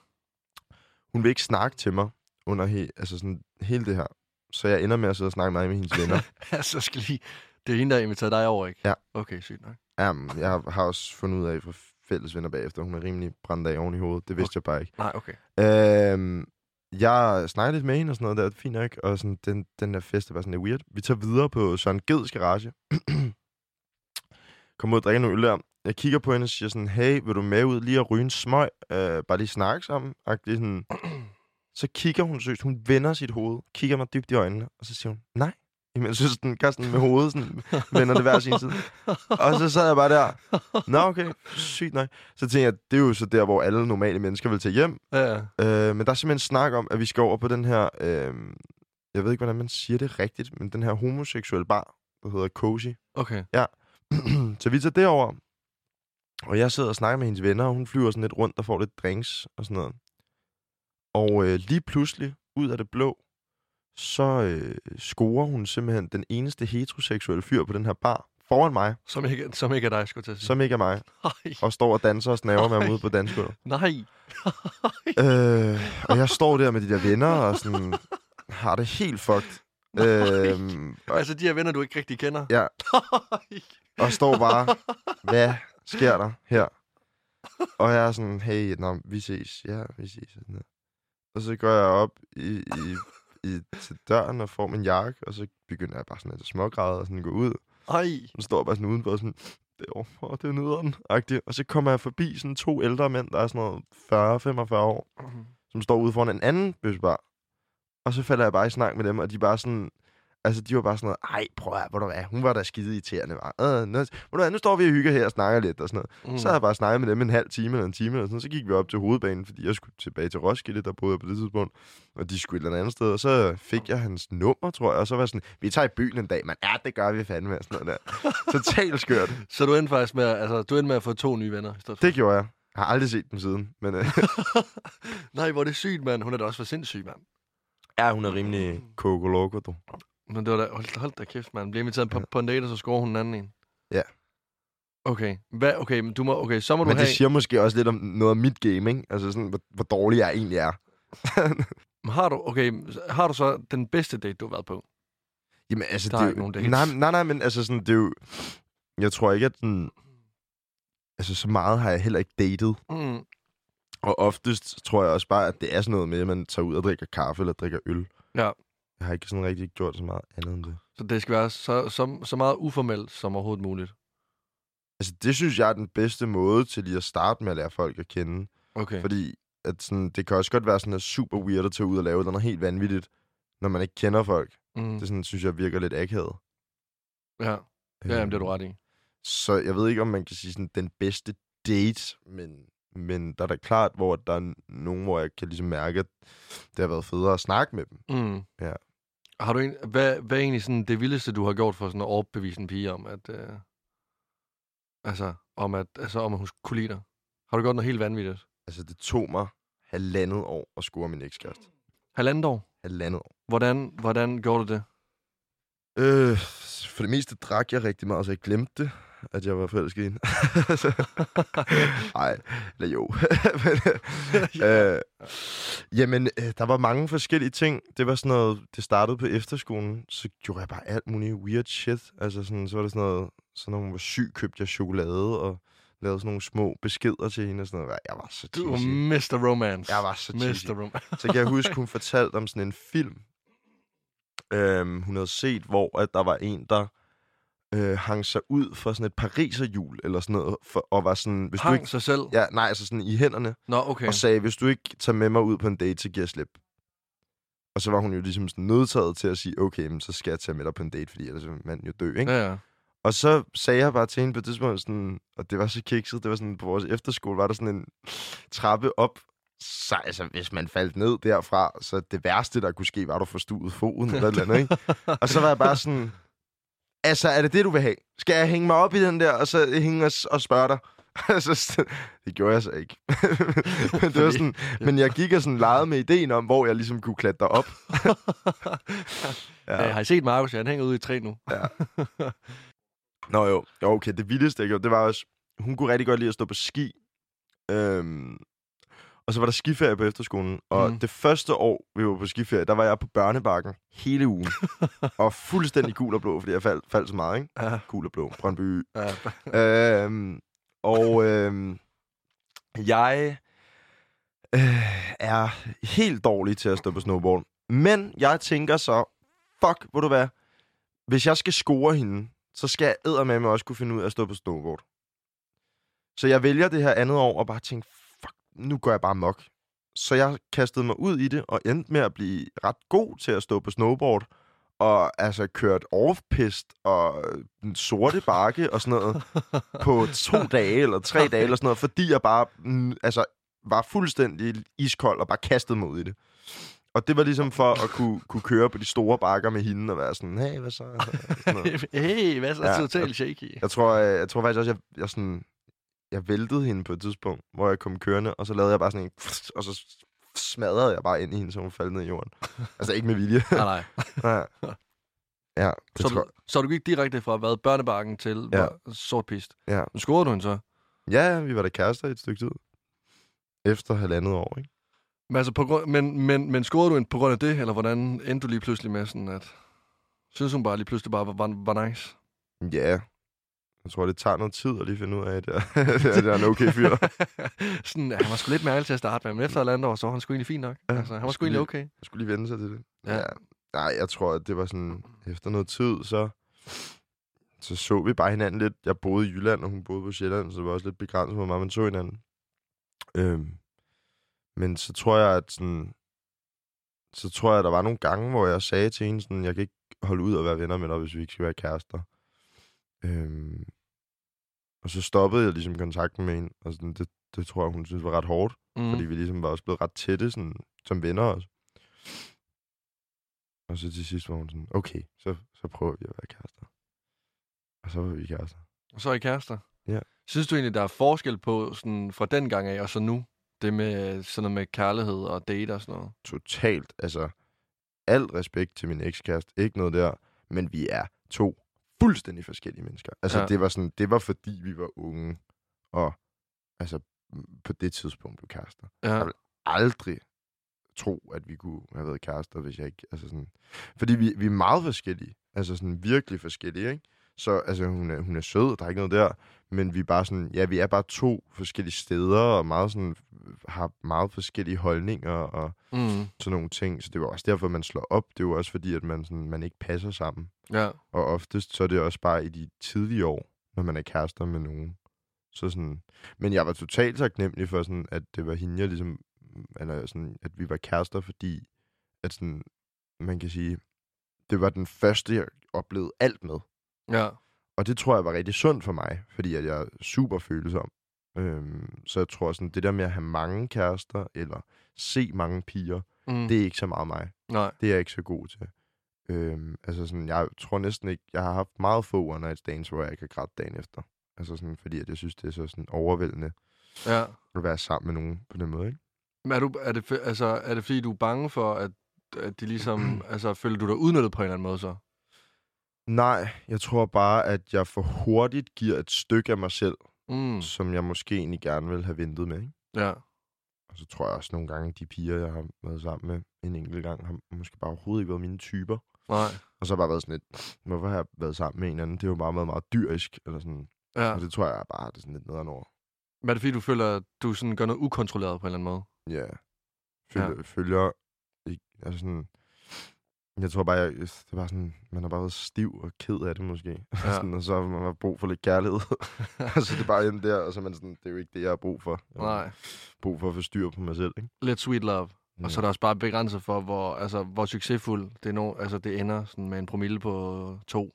S2: Hun vil ikke snakke til mig under he- altså sådan, hele det her. Så jeg ender med at sidde og snakke meget med hendes venner.
S1: så skal lige... Det er hende, der har inviteret dig over, ikke?
S2: Ja.
S1: Okay, sygt nok.
S2: Jamen, jeg har- har også fundet ud af fra fælles venner bagefter, hun er rimelig brændt af oven i hovedet. Det vidste jeg bare ikke.
S1: Nej, okay.
S2: Øhm, jeg snakkede lidt med hende og sådan noget, der det er fint nok, og sådan, den, den der fest, det var sådan lidt weird. Vi tager videre på Søren Geds garage. Kommer ud og drikker nogle øl der. Jeg kigger på hende og siger sådan, hey, vil du med ud lige at ryge en smøg? Øh, bare lige snakke sammen. Og det er sådan. Så kigger hun søst, hun vender sit hoved, kigger mig dybt i øjnene, og så siger hun, nej. Jamen, jeg synes, den gør sådan med hovedet, sådan, vender det hver sin side. Og så sad jeg bare der, nå okay, sygt nej. Så tænkte jeg, det er jo så der, hvor alle normale mennesker vil tage hjem.
S1: Ja.
S2: Øh, men der er simpelthen snak om, at vi skal over på den her... Øh, jeg ved ikke, hvordan man siger det rigtigt, men den her homoseksuelle bar, der hedder Cozy.
S1: Okay.
S2: så vi tager derover, og jeg sidder og snakker med hendes venner, og hun flyver sådan lidt rundt og får lidt drinks og sådan noget. Og øh, lige pludselig, ud af det blå, så øh, scorer hun simpelthen den eneste heteroseksuelle fyr på den her bar foran mig,
S1: Som ikke, som ikke er dig, skulle jeg til at sige.
S2: som ikke er mig,
S1: Nej.
S2: og står og danser og snaver med ham
S1: Ej.
S2: ude på dansgulvet.
S1: Nej.
S2: Øh, og jeg står der med de der venner og sådan, har det helt fucked. Øh, og,
S1: Altså, de her venner, du ikke rigtig kender.
S2: Ja.
S1: Nej.
S2: og står bare, hvad sker der her? Og jeg er sådan, hey, nå, vi ses. Ja, vi ses. og Sådan der. Og så går jeg op i, i, i, til døren og får min jakke, og så begynder jeg bare sådan lidt at smågræde og sådan gå ud.
S1: Ej.
S2: Så står jeg bare sådan udenfor sådan, det er overfor, det er nederen. agtigt. Og så kommer jeg forbi sådan to ældre mænd, der er sådan noget 40-45 år. som står ude foran en anden bøssebar. Og så falder jeg bare i snak med dem, og de er bare sådan... Altså, de var bare sådan noget, ej, prøv at høre, hvor du hvad, hun var da skide irriterende, var. Øh, nu, ved du hvad, nu står vi og hygger her og snakker lidt og sådan noget. Mm. Så har jeg bare snakket med dem en halv time eller en time eller sådan noget. Så gik vi op til hovedbanen, fordi jeg skulle tilbage til Roskilde, der boede jeg på det tidspunkt. Og de skulle et eller andet sted, og så fik jeg hans nummer, tror jeg. Og så var jeg sådan, vi tager i byen en dag, mand. Ja, det gør vi fandme og sådan noget der. Totalt skørt.
S1: Så du endte faktisk med, at- altså, du endte med at få to nye venner. i stedet for.
S2: Det gjorde jeg. Jeg har aldrig set dem siden, men øh,
S1: Nej, hvor er det sygt, mand. Hun er da også for sindssyg, mand.
S2: ja, hun er rimelig kokologo, du.
S1: Men det var da, hold, hold da kæft, mand. Bliver inviteret på, på en date, og så scorer hun en anden en.
S2: Ja.
S1: Okay. Hvad, okay, men du må, okay, så må
S2: Men
S1: du have...
S2: det siger måske også lidt om noget om mit game, ikke? Altså sådan, hvor, hvor dårlig jeg egentlig er.
S1: Men Har du, okay, har du så den bedste date, du har været på?
S2: Jamen altså,
S1: Der er
S2: det
S1: ikke nogen
S2: jo,
S1: dates.
S2: nej, nej, nej, men altså sådan, det er jo... Jeg tror ikke, at den... Altså, så meget har jeg heller ikke datet.
S1: Mm.
S2: Og oftest tror jeg også bare, at det er sådan noget med, at man tager ud og drikker kaffe eller drikker øl.
S1: Ja.
S2: Jeg har ikke sådan rigtig gjort så meget andet end det.
S1: Så det skal være så, så, så meget uformelt som overhovedet muligt.
S2: Altså, det synes jeg er den bedste måde til lige at starte med at lære folk at kende.
S1: Okay.
S2: Fordi at sådan, det kan også godt være sådan noget super weird at tage ud og lave noget helt vanvittigt, når man ikke kender folk.
S1: mm.
S2: Det sådan, synes jeg virker lidt akavet. Øhm,
S1: Ja, ja jamen, det er du ret i.
S2: Så jeg ved ikke, om man kan sige sådan, den bedste date, men, men der er da klart, hvor der er nogen, hvor jeg kan ligesom mærke, at det har været federe at snakke med dem.
S1: Mm.
S2: Ja.
S1: Har du en, hvad, hvad er egentlig sådan det vildeste, du har gjort for sådan at overbevise en pige om, at, øh, altså, om at, altså, om at hun kunne lide dig? Har du gjort noget helt vanvittigt?
S2: Altså, det tog mig halvandet år at score min
S1: Mm.
S2: ekskæreste.
S1: Halvandet år?
S2: Halvandet år.
S1: Hvordan, hvordan gjorde du det?
S2: Øh, for det meste drak jeg rigtig meget, så jeg glemte det, at jeg var forelsket i hende. Nej, eller jo. men, øh, jamen, øh, der var mange forskellige ting. Det var sådan noget, det startede på efterskolen, så gjorde jeg bare alt muligt weird shit. Altså sådan, så var det sådan noget, så når hun var syg, købte jeg chokolade og lavede sådan nogle små beskeder til hende og sådan noget. Jeg var så
S1: Du er
S2: cheesy.
S1: Mr. Romance.
S2: Jeg var så cheesy.
S1: Mr. Romance.
S2: Så kan jeg huske, hun fortalte om sådan en film, øhm, hun havde set, hvor at der var en, der øh, hang sig ud for sådan et pariserhjul, eller sådan noget, for, og var sådan... Hvis du
S1: Hang
S2: ikke,
S1: sig selv?
S2: ja, nej, altså sådan i hænderne, okay.
S1: Nå, okay.
S2: og sagde, hvis du ikke tager med mig ud på en date, så giver jeg slip. Og så var hun jo ligesom sådan nødtaget til at sige, okay, men så skal jeg tage med dig på en date, fordi ellers vil manden jo dø, ikke?
S1: Ja, ja.
S2: Og så sagde jeg bare til hende på et tidspunkt, sådan, og det var så kikset, det var sådan, på vores efterskole var der sådan en trappe op, så altså, hvis man faldt ned derfra, så det værste, der kunne ske, var, at du forstuede foden eller et eller andet, ikke? Og så var jeg bare sådan, altså, er det det, du vil have? Skal jeg hænge mig op i den der, og så hænge og, og spørge dig? Altså, sådan- det gjorde jeg så ikke. men, det
S1: Fordi-
S2: var sådan, men jeg gik og sådan legede med ideen om, hvor jeg ligesom kunne klatre op.
S1: ja. Har I set Markus? Ja, han hænger ude i et træ nu.
S2: Nå jo, jo okay, det vildeste, jeg gjorde, det var også, hun kunne rigtig godt lide at stå på ski. Øhm, og så var der skiferie på efterskolen, og
S1: Mm.
S2: mm. det første år, vi var på skiferie, der var jeg på børnebakken hele ugen. og fuldstændig gul og blå, fordi jeg faldt, faldt så meget, ikke?
S1: Ja.
S2: Gul og blå, Brøndby.
S1: Ja.
S2: øhm, og øhm, jeg øh, er helt dårlig til at stå på snowboard. Men jeg tænker så, fuck, hvor du hvad, hvis jeg skal score hende, så skal jeg eddermame også kunne finde ud af at stå på snowboard. Så jeg vælger det her andet år og bare tænker, fuck, nu går jeg bare mok. Så jeg kastede mig ud i det og endte med at blive ret god til at stå på snowboard. Og altså kørt off-pist og den sorte bakke og sådan noget på to dage eller tre dage eller sådan noget, fordi jeg bare mm, altså, var fuldstændig iskold og bare kastede mig ud i det. Og det var ligesom for at kunne, kunne køre på de store bakker med hende og være sådan, hey, hvad så? Og sådan noget.
S1: hey, hvad så
S2: Ja.
S1: ja. totalt shaky?
S2: Jeg tror, øh, jeg, jeg tror faktisk også, jeg, jeg, sådan, jeg væltede hende på et tidspunkt, hvor jeg kom kørende, og så lavede jeg bare sådan en... Og så smadrede jeg bare ind i hende, så hun faldt ned i jorden. Altså ikke med vilje.
S1: Nej, nej.
S2: Nej. ja, det
S1: Så,
S2: tror
S1: du, så du gik direkte fra hvad, børnebakken til
S2: Ja.
S1: ja. sort pist.
S2: Ja.
S1: Nu scorede du hende så.
S2: jeg. Ja, vi var da kærester i et stykke tid. Efter halvandet år, ikke?
S1: Men, altså på grund, men, men, men scorede du hende på grund af det, eller hvordan endte du lige pludselig med sådan, at... Synes hun bare lige pludselig bare var, var, var nice?
S2: Ja. Jeg tror, det tager noget tid at lige finde ud af, at jeg, at jeg er en okay fyr.
S1: sådan, ja, han var sgu lidt mærkelig til at starte med, men efter halvandet år, så var han sgu egentlig fint nok.
S2: Ja,
S1: altså, han var sgu
S2: skulle
S1: egentlig
S2: lige-
S1: okay.
S2: Jeg skulle lige vende sig til det.
S1: Ja.
S2: Nej, jeg tror, at det var sådan, efter noget tid, så, så så vi bare hinanden lidt. Jeg boede i Jylland, og hun boede på Sjælland, så det var også lidt begrænset, hvor meget man så hinanden. Øhm, men så tror jeg, at sådan, så tror jeg, at der var nogle gange, hvor jeg sagde til hende, sådan, jeg kan ikke holde ud og være venner med dig, hvis vi ikke skal være kærester. Øhm, og så stoppede jeg ligesom kontakten med hende, og sådan, det, det tror jeg, hun synes var ret hårdt
S1: Mm.
S2: fordi vi ligesom var også blevet ret tætte sådan, som venner også. Og så til sidst var hun sådan, okay, så, så prøver vi at være kærester. Og så var vi kærester.
S1: Og så er I kærester?
S2: Ja.
S1: Synes du egentlig, der er forskel på sådan fra den gang af og så nu? Det med øh, sådan noget med kærlighed og date og sådan noget?
S2: Totalt, altså, alt respekt til min ekskæreste, ikke noget der, men vi er to fuldstændig forskellige mennesker. Altså,
S1: Ja.
S2: ja. det var sådan, det var fordi, vi var unge, og altså, på det tidspunkt blev kærester.
S1: Ja.
S2: vil- aldrig tro, at vi kunne have været kærester, hvis jeg ikke... Altså sådan, fordi vi, vi er meget forskellige. Altså sådan virkelig forskellige, ikke? Så altså, hun er, hun er sød, der er ikke noget der. Men vi er bare sådan, ja, vi er bare to forskellige steder, og meget sådan, har meget forskellige holdninger og
S1: Mm.
S2: sådan nogle ting. Så det var også derfor, man slår op. Det var også fordi, at man, sådan, man ikke passer sammen.
S1: Ja.
S2: Og oftest så er det også bare i de tidlige år, når man er kærester med nogen. Så sådan, men jeg var totalt taknemmelig for, sådan, at det var hende, jeg ligesom, eller sådan, at vi var kærester, fordi at sådan, man kan sige, det var den første, jeg oplevede alt med.
S1: Ja.
S2: Og det tror jeg var rigtig sundt for mig, fordi at jeg er super følsom. Øhm, så jeg tror sådan, det der med at have mange kærester, eller se mange piger,
S1: Mm.
S2: det er ikke så meget mig.
S1: Nej.
S2: Det er jeg ikke så god til. Øhm, altså sådan, jeg tror næsten ikke, jeg har haft meget få one night stands, hvor jeg ikke har grædt dagen efter. Altså sådan, fordi at jeg synes, det er så sådan overvældende
S1: Ja.
S2: at være sammen med nogen på den måde, ikke?
S1: Men er, du, er, det, f- altså, er det fordi, du er bange for, at, at de ligesom... altså, føler du dig udnyttet på en eller anden måde så?
S2: Nej, jeg tror bare, at jeg for hurtigt giver et stykke af mig selv,
S1: Mm.
S2: mm. som jeg måske egentlig gerne ville have ventet med, ikke?
S1: Ja.
S2: Og så tror jeg også nogle gange, de piger, jeg har været sammen med en enkelt gang, har måske bare overhovedet ikke været mine typer.
S1: Nej.
S2: Og så har jeg bare været sådan lidt, hvorfor har jeg været sammen med en anden? Det har jo bare været meget dyrisk, eller sådan. Ja.
S1: Ja.
S2: Og det tror jeg bare, det er sådan lidt nederen over.
S1: Men er det fordi, du føler, at du sådan gør noget ukontrolleret på en eller anden måde?
S2: Ja. Følger, ja. følger ikke, altså sådan, jeg tror bare, jeg, det er bare sådan, man har bare været stiv og ked af det måske.
S1: Ja.
S2: Ja. sådan, og så har man bare brug for lidt kærlighed. så det er bare hjemme der, og så er man sådan, det er jo ikke det, jeg har brug for. Jeg har
S1: Nej.
S2: brug for at få styr på mig selv, ikke?
S1: Lidt sweet love. Mm.
S2: Ja.
S1: Og så er der også bare begrænset for, hvor, altså, hvor succesfuld det, er no, altså, det ender sådan med en promille på to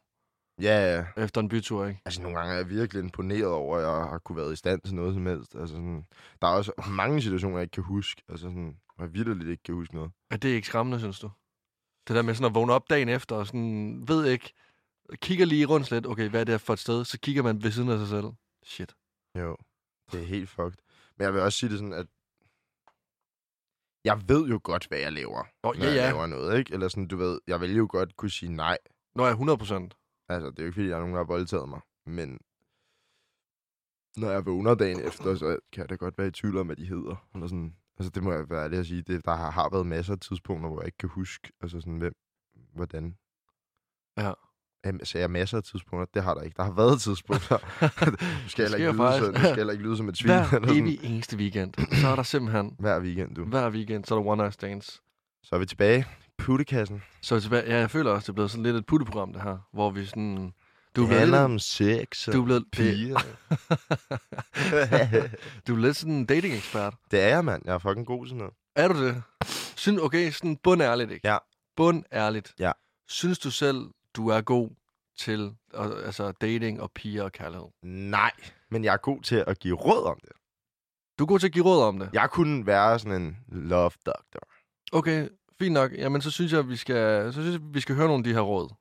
S2: Ja, ja.
S1: efter en bytur, ikke?
S2: Altså, nogle gange er jeg virkelig imponeret over, at jeg har kunne været i stand til noget som helst. Altså, sådan, der er også mange situationer, jeg ikke kan huske. Altså, sådan, hvor jeg virkelig ikke kan huske noget.
S1: Er det ikke skræmmende, synes du? Det der med sådan at vågne op dagen efter og sådan, ved ikke, kigger lige rundt lidt, okay, hvad er det her for et sted? Så kigger man ved siden af sig selv. Shit.
S2: Jo. Det er helt fucked. Men jeg vil også sige det sådan, at jeg ved jo godt, hvad jeg laver,
S1: Nå,
S2: når
S1: ja,
S2: jeg
S1: ja.
S2: laver noget, ikke? Eller sådan, du ved, jeg vil jo godt kunne sige nej.
S1: Nå, ja, 100 procent.
S2: Altså, det er jo ikke, fordi der er nogen, der har voldtaget mig, men når jeg vågner dagen efter, så kan jeg da godt være i tvivl om, hvad de hedder. Eller sådan. Altså, det må jeg være ærlig at sige. Det, der har, har været masser af tidspunkter, hvor jeg ikke kan huske, altså sådan, hvem, hvordan.
S1: Ja.
S2: Jamen, sagde jeg masser af tidspunkter? Det har der ikke. Der har været tidspunkter. nu skal jeg heller ikke,
S1: sker
S2: lyde, så,
S1: faktisk.
S2: nu skal jeg heller ikke lyde som et svin. eller
S1: Hver
S2: sådan.
S1: evig eneste weekend, så er der simpelthen,
S2: Hver weekend, du.
S1: hver weekend, så er der one night stands.
S2: Så er vi tilbage. Puttekassen.
S1: Så er vi tilbage, ja, jeg føler også, det er blevet sådan lidt et putteprogram, det her, hvor vi sådan... Du er
S2: det
S1: blevet,
S2: handler
S1: lidt,
S2: om sex og
S1: du er blevet, det,
S2: piger.
S1: du er lidt sådan en dating ekspert.
S2: det er jeg, mand. Jeg er fucking god til sådan noget.
S1: Er du det? Synes, okay, sådan bundærligt, ikke?
S2: Ja.
S1: Bundærligt.
S2: Ja.
S1: Synes du selv, du er god til og, altså dating og piger og kærlighed?
S2: Nej, men jeg er god til at give råd om det.
S1: Du er god til at give råd om det?
S2: Jeg kunne være sådan en love doctor.
S1: Okay, fint nok. Jamen, så synes jeg, vi skal, så synes jeg, vi skal høre nogle af de her råd.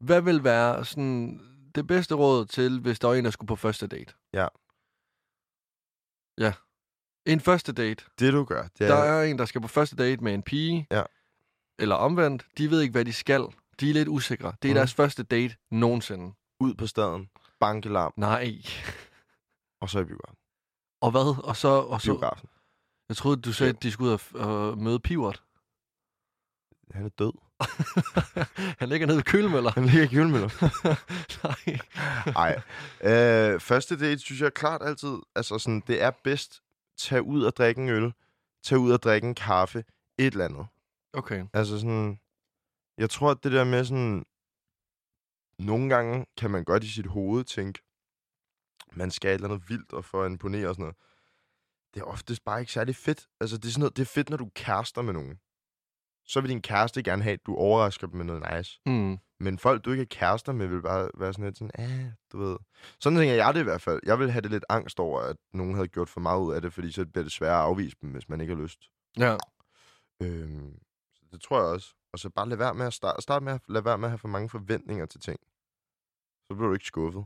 S1: Hvad vil være sådan, det bedste råd til, hvis der var en, der skulle på første date?
S2: Ja.
S1: Ja. En første date.
S2: Det du gør, det er...
S1: Der er en, der skal på første date med en pige.
S2: Ja.
S1: Eller omvendt. De ved ikke, hvad de skal. De er lidt usikre. Det er
S2: Mhm.
S1: deres første date nogensinde.
S2: Ud på staden, bankelarm,
S1: Nej.
S2: og så i biografen.
S1: Og hvad? Og så... Og så
S2: biografen.
S1: jeg troede, du sagde, at de skulle ud og f- og møde Pivert.
S2: Han er død.
S1: Han ligger nede ved kølemøller.
S2: Han ligger i kølmøller.
S1: Nej.
S2: Nej. Øh, første date, synes jeg klart altid, altså sådan, det er bedst, tag ud og drikke en øl, tag ud og drikke en kaffe, et eller andet.
S1: Okay.
S2: Altså sådan, jeg tror, at det der med sådan, nogle gange kan man godt i sit hoved tænke, man skal et eller andet vildt og for at imponere og sådan noget. Det er oftest bare ikke særlig fedt. Altså, det er sådan noget, det er fedt, når du er kærester med nogen. Så vil din kæreste gerne have, at du overrasker dem med noget nice.
S1: Mm.
S2: Men folk, du ikke er kærester med, vil bare være sådan lidt sådan, ah, du ved. Sådan tænker jeg det i hvert fald. Jeg vil have det lidt angst over, at nogen havde gjort for meget ud af det, fordi så bliver det sværere at afvise dem, hvis man ikke har lyst.
S1: Ja.
S2: Øhm, så det tror jeg også. Og så bare lade være med at starte, start med at lade være med at have for mange forventninger til ting. Så bliver du ikke skuffet.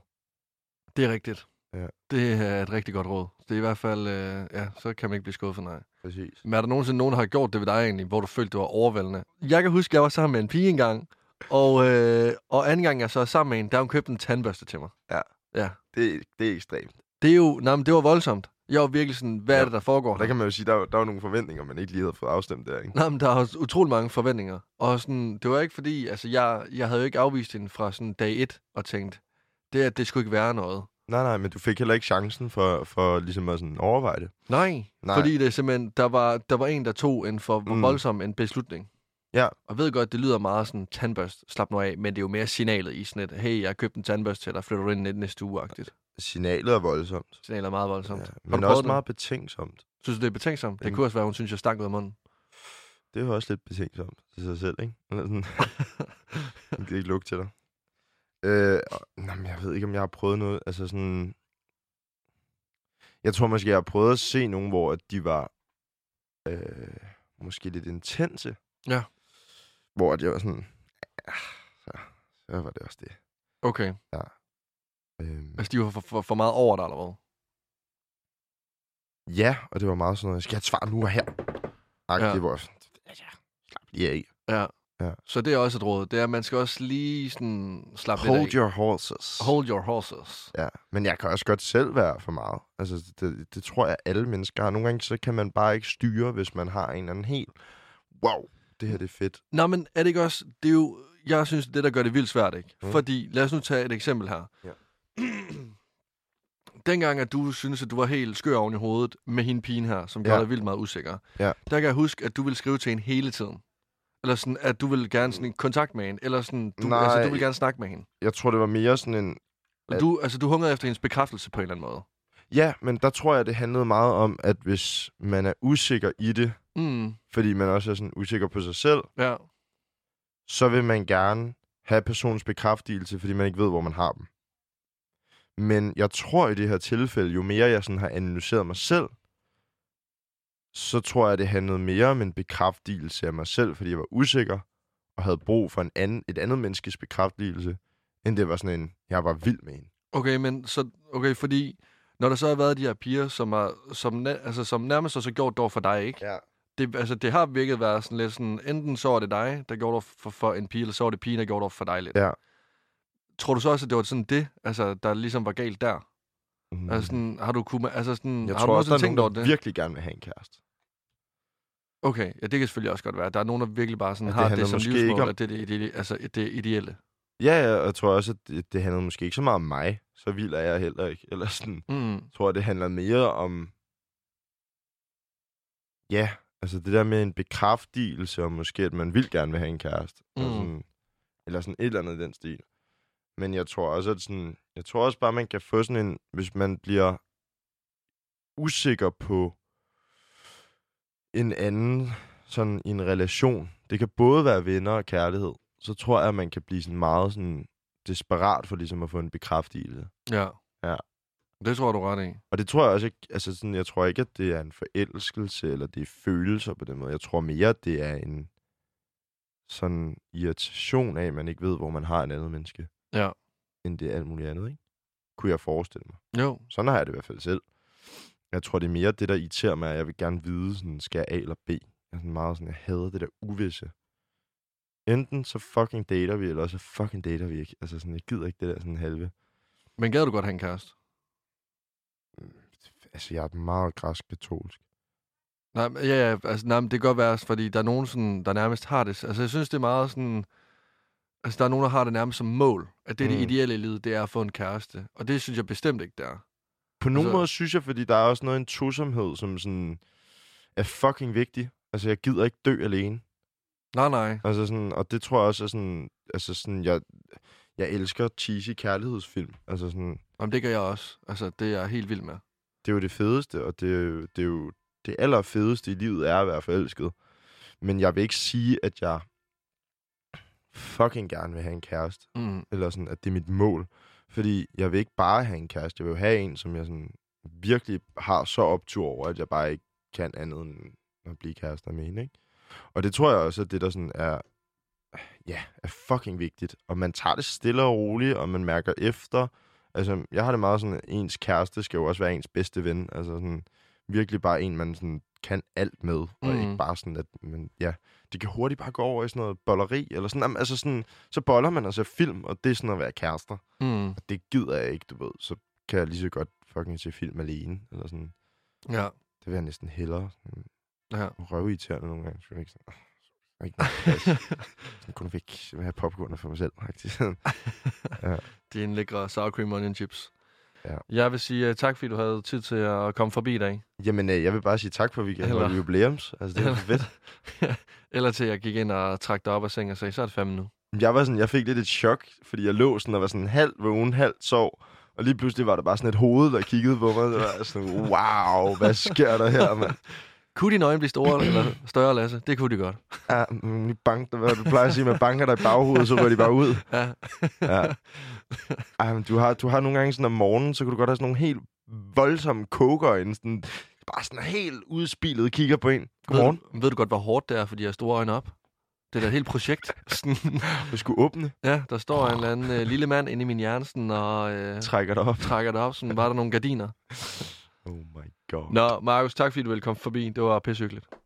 S1: Det er rigtigt.
S2: Ja.
S1: Det er et rigtig godt råd. Det er i hvert fald... Øh, ja, så kan man ikke blive skuffet, nej.
S2: Præcis.
S1: Men er der nogensinde nogen, der har gjort det ved dig egentlig, hvor du følte, det var overvældende? Jeg kan huske, jeg var sammen med en pige engang, og, øh, og anden gang, jeg så er sammen med en, der har hun købte en tandbørste til mig.
S2: Det, det er ekstremt.
S1: Det er jo, nej, men det var voldsomt. Jeg var virkelig sådan, hvad ja. er
S2: Ja.
S1: det, der foregår
S2: Og der
S1: her?
S2: kan man jo sige, der, var- der var nogle forventninger, man ikke lige havde fået afstemt der, ikke?
S1: Nej, men der er også utrolig mange forventninger. Og sådan, det var ikke fordi, altså jeg, jeg havde jo ikke afvist hende fra sådan dag et og tænkt, Det er, at det skulle ikke være noget.
S2: Nej, nej, men du fik heller ikke chancen for, for ligesom at sådan overveje det.
S1: Nej,
S2: Nej.
S1: Nej. fordi det er simpelthen, der var, der var en, der tog en for
S2: Mm.
S1: mm. voldsom en beslutning.
S2: Ja.
S1: Og ved godt, det lyder meget sådan, tandbørst, slap nu af, men det er jo mere signalet i sådan et, hey, jeg har købt en tandbørst til dig, flytter du ind i den næste uge-agtigt.
S2: Signalet er voldsomt.
S1: Signalet er meget voldsomt. Ja,
S2: Ja, men også meget betænksomt.
S1: Synes du, det er betænksomt?
S2: Jamen.
S1: Det kunne også være, hun synes, jeg stank ud af munden.
S2: Det er jo også lidt betænksomt til sig selv, ikke? Eller sådan, det kan ikke lugte til dig. Øh, og- nå, men jeg ved ikke, om jeg har prøvet noget. Altså sådan... Jeg tror måske, jeg har prøvet at se nogen, hvor at de var øh, måske lidt intense.
S1: Ja.
S2: Hvor at jeg var sådan... "Ah, Så, så var det også det.
S1: Okay,
S2: Øhm,
S1: altså de var for, for, for meget over dig, eller hvad?
S2: ja, og det var meget sådan noget, skal jeg have et svar nu og her? Ej,
S1: Ja.
S2: det var sådan, ja, slap lige af.
S1: Så det er også et råd, det er, at man skal også lige sådan slappe lidt
S2: Hold
S1: af.
S2: your horses.
S1: Hold your horses.
S2: Ja, men jeg kan også godt selv være for meget. Altså, det, det tror jeg, alle mennesker har. Nogle gange, så kan man bare ikke styre, hvis man har en eller anden helt... Wow, det her det er fedt.
S1: Nå, men er det ikke også, det er jo, jeg synes, det er det der gør det vildt svært, ikke?
S2: Mm.
S1: Mm. Fordi, lad os nu tage et eksempel her.
S2: Ja.
S1: Dengang, at du synes at du var helt skør oven i hovedet med hende pigen her, som gør
S2: Ja.
S1: dig vildt meget usikker,
S2: Ja.
S1: der kan jeg huske, at du ville skrive til hende hele tiden. Eller sådan, at du ville gerne sådan i kontakt med hende, eller sådan, du, altså,
S2: Nej.
S1: du ville gerne snakke med hende.
S2: Jeg tror, det var mere sådan en...
S1: Og du, altså, du hungrede efter hendes bekræftelse på en eller anden måde.
S2: Ja, men der tror jeg, det handlede meget om, at hvis man er usikker i det,
S1: Mm,
S2: fordi man også er sådan usikker på sig selv,
S1: ja.
S2: så vil man gerne have personens bekræftelse, fordi man ikke ved, hvor man har dem. Men jeg tror i det her tilfælde, jo mere jeg sådan har analyseret mig selv, så tror jeg, det handlede mere om en bekræftelse af mig selv, fordi jeg var usikker og havde brug for en anden, et andet menneskes bekræftelse, end det var sådan en, jeg var vild med en.
S1: Okay, men så, okay, fordi når der så har været de her piger, som, er, som, næ- altså, som nærmest har så gjort dår for dig, ikke?
S2: Ja.
S1: det, altså, det har virket være sådan lidt sådan, enten så var det dig, der gjorde det for, for en pige, eller så var det pigen, der gjorde det for dig lidt.
S2: Ja.
S1: Tror du så også, at det var sådan det, altså, der ligesom var galt der? Mm.
S2: Mm.
S1: Altså, sådan, har du kunne, altså, sådan,
S2: jeg
S1: har du
S2: tror også, der
S1: nogensinde
S2: er
S1: tænkt over
S2: nogen, der
S1: det?
S2: virkelig gerne vil have en kæreste.
S1: Okay, ja, det kan selvfølgelig også godt være. Der er nogen, der virkelig bare sådan,
S2: Og det
S1: har
S2: handler
S1: det som
S2: måske
S1: livsmål,
S2: ikke om-
S1: at det, er det, det, altså, det er ideelle.
S2: Ja, ja, og jeg tror også, at det, det handlede måske ikke så meget om mig, så vild er jeg heller ikke. Eller sådan,
S1: Mm.
S2: Jeg tror, det handler mere om... Ja, altså det der med en bekræftelse, og måske, at man vil gerne vil have en kæreste. Mm.
S1: Mm.
S2: Eller, sådan, eller sådan et eller andet i den stil. Men jeg tror også, at sådan... Jeg tror også bare, man kan få sådan en... Hvis man bliver usikker på en anden sådan i en relation. Det kan både være venner og kærlighed. Så tror jeg, at man kan blive sådan meget sådan desperat for ligesom at få en bekræftelse.
S1: Ja.
S2: Ja.
S1: Det tror jeg, du er ret i.
S2: Og det tror jeg også ikke, altså sådan, jeg tror ikke, at det er en forelskelse, eller det er følelser på den måde. Jeg tror mere, at det er en sådan irritation af, at man ikke ved, hvor man har en andet menneske.
S1: Ja.
S2: End det er alt muligt andet, ikke? Kunne jeg forestille mig.
S1: Jo.
S2: Sådan har jeg det i hvert fald selv. Jeg tror, det er mere det, der irriterer mig, at jeg vil gerne vide, sådan, skal jeg A eller B? Jeg er sådan meget sådan, jeg hader det der uvisse. Enten så fucking dater vi, eller også så fucking dater vi ikke. Altså sådan, jeg gider ikke det der sådan halve.
S1: Men gad du godt have en kæreste?
S2: Altså, jeg er meget græsk katolsk.
S1: Nej, men- ja, ja, altså, nej, men det kan godt være, fordi der er nogen, sådan, der nærmest har det. Altså, jeg synes, det er meget sådan... Altså, der er nogen, der har det nærmest som mål, at det, mm.
S2: Mm.
S1: det ideelle i livet, det er at få en kæreste. Og det synes jeg bestemt ikke, det er.
S2: På nogen altså,
S1: Altså-
S2: måde synes jeg, fordi der er også noget i en tosomhed, som sådan er fucking vigtig. Altså, jeg gider ikke dø alene.
S1: Nej, nej.
S2: Altså sådan, og det tror jeg også er sådan, altså sådan, jeg, jeg elsker cheesy kærlighedsfilm. Altså sådan,
S1: Jamen, det gør jeg også. Altså, det er jeg helt vild med.
S2: det er jo det fedeste, og det, er jo- det er jo det allerfedeste i livet er at være forelsket. Men jeg vil ikke sige, at jeg fucking gerne vil have en kæreste,
S1: Mm.
S2: eller sådan, at det er mit mål. Fordi jeg vil ikke bare have en kæreste, jeg vil jo have en, som jeg sådan virkelig har så optur over, at jeg bare ikke kan andet end at blive kærester med hende, ikke? Og det tror jeg også, at det der sådan er, ja, er fucking vigtigt. Og man tager det stille og roligt, og man mærker efter. Altså, jeg har det meget sådan, at ens kæreste skal jo også være ens bedste ven. Altså sådan, virkelig bare en, man sådan kan alt med, og
S1: Mhm.
S2: ikke bare sådan, at man, ja, det kan hurtigt bare gå over i sådan noget bolleri, eller sådan, Jamen, altså sådan, så boller man og ser film, og det er sådan at være kærester.
S1: Mm.
S2: Og det gider jeg ikke, du ved. Så kan jeg lige så godt fucking se film alene, eller sådan.
S1: Ja.
S2: Det vil jeg næsten hellere. Sådan
S1: Ja.
S2: røvirriterende nogle gange. Synes jeg ikke sådan. Og ikke noget plads. Sådan kunne jeg ikke have popcorn for mig selv, faktisk.
S1: Det er en lækre sour cream onion chips.
S2: Ja.
S1: Jeg vil sige uh, tak, fordi du havde tid til at komme forbi i dag.
S2: Jamen, øh, jeg vil bare sige tak for, at vi kan
S1: Eller-
S2: holde jubilæums. Altså, det er
S1: Eller-
S2: fedt.
S1: Eller til jeg gik ind og trak dig op af sengen og sagde, så er det fandme nu.
S2: Jeg, var sådan, jeg fik lidt et chok, fordi jeg lå sådan og var sådan halv vågen, halv sov. Og lige pludselig var der bare sådan et hoved, der kiggede på mig. Det var sådan, wow, hvad sker der her, mand?
S1: Kunne dine øjne blive store eller større, Lasse? Det kunne de godt.
S2: Ja, mm, lige bank, hvad du plejer at sige, man banker dig i baghovedet, så går de bare ud.
S1: Ja.
S2: Ja. Ej, men du har, du har nogle gange sådan om morgenen, så kan du godt have sådan nogle helt voldsomme kogerøjne, sådan, bare sådan helt udspilet kigger på en. Godmorgen.
S1: Ved, du- ved du godt, hvor hårdt det er, fordi jeg har store øjne op? Det er da et helt projekt. Sådan,
S2: Du skulle åbne,
S1: ja, der står en eller anden øh, lille mand inde i min hjerne sådan, og øh,
S2: trækker dig op.
S1: trækker det op. Sådan, var der nogle gardiner?
S2: Oh my god.
S1: Nå, Markus, tak fordi du ville komme forbi. Det var pissehyggeligt.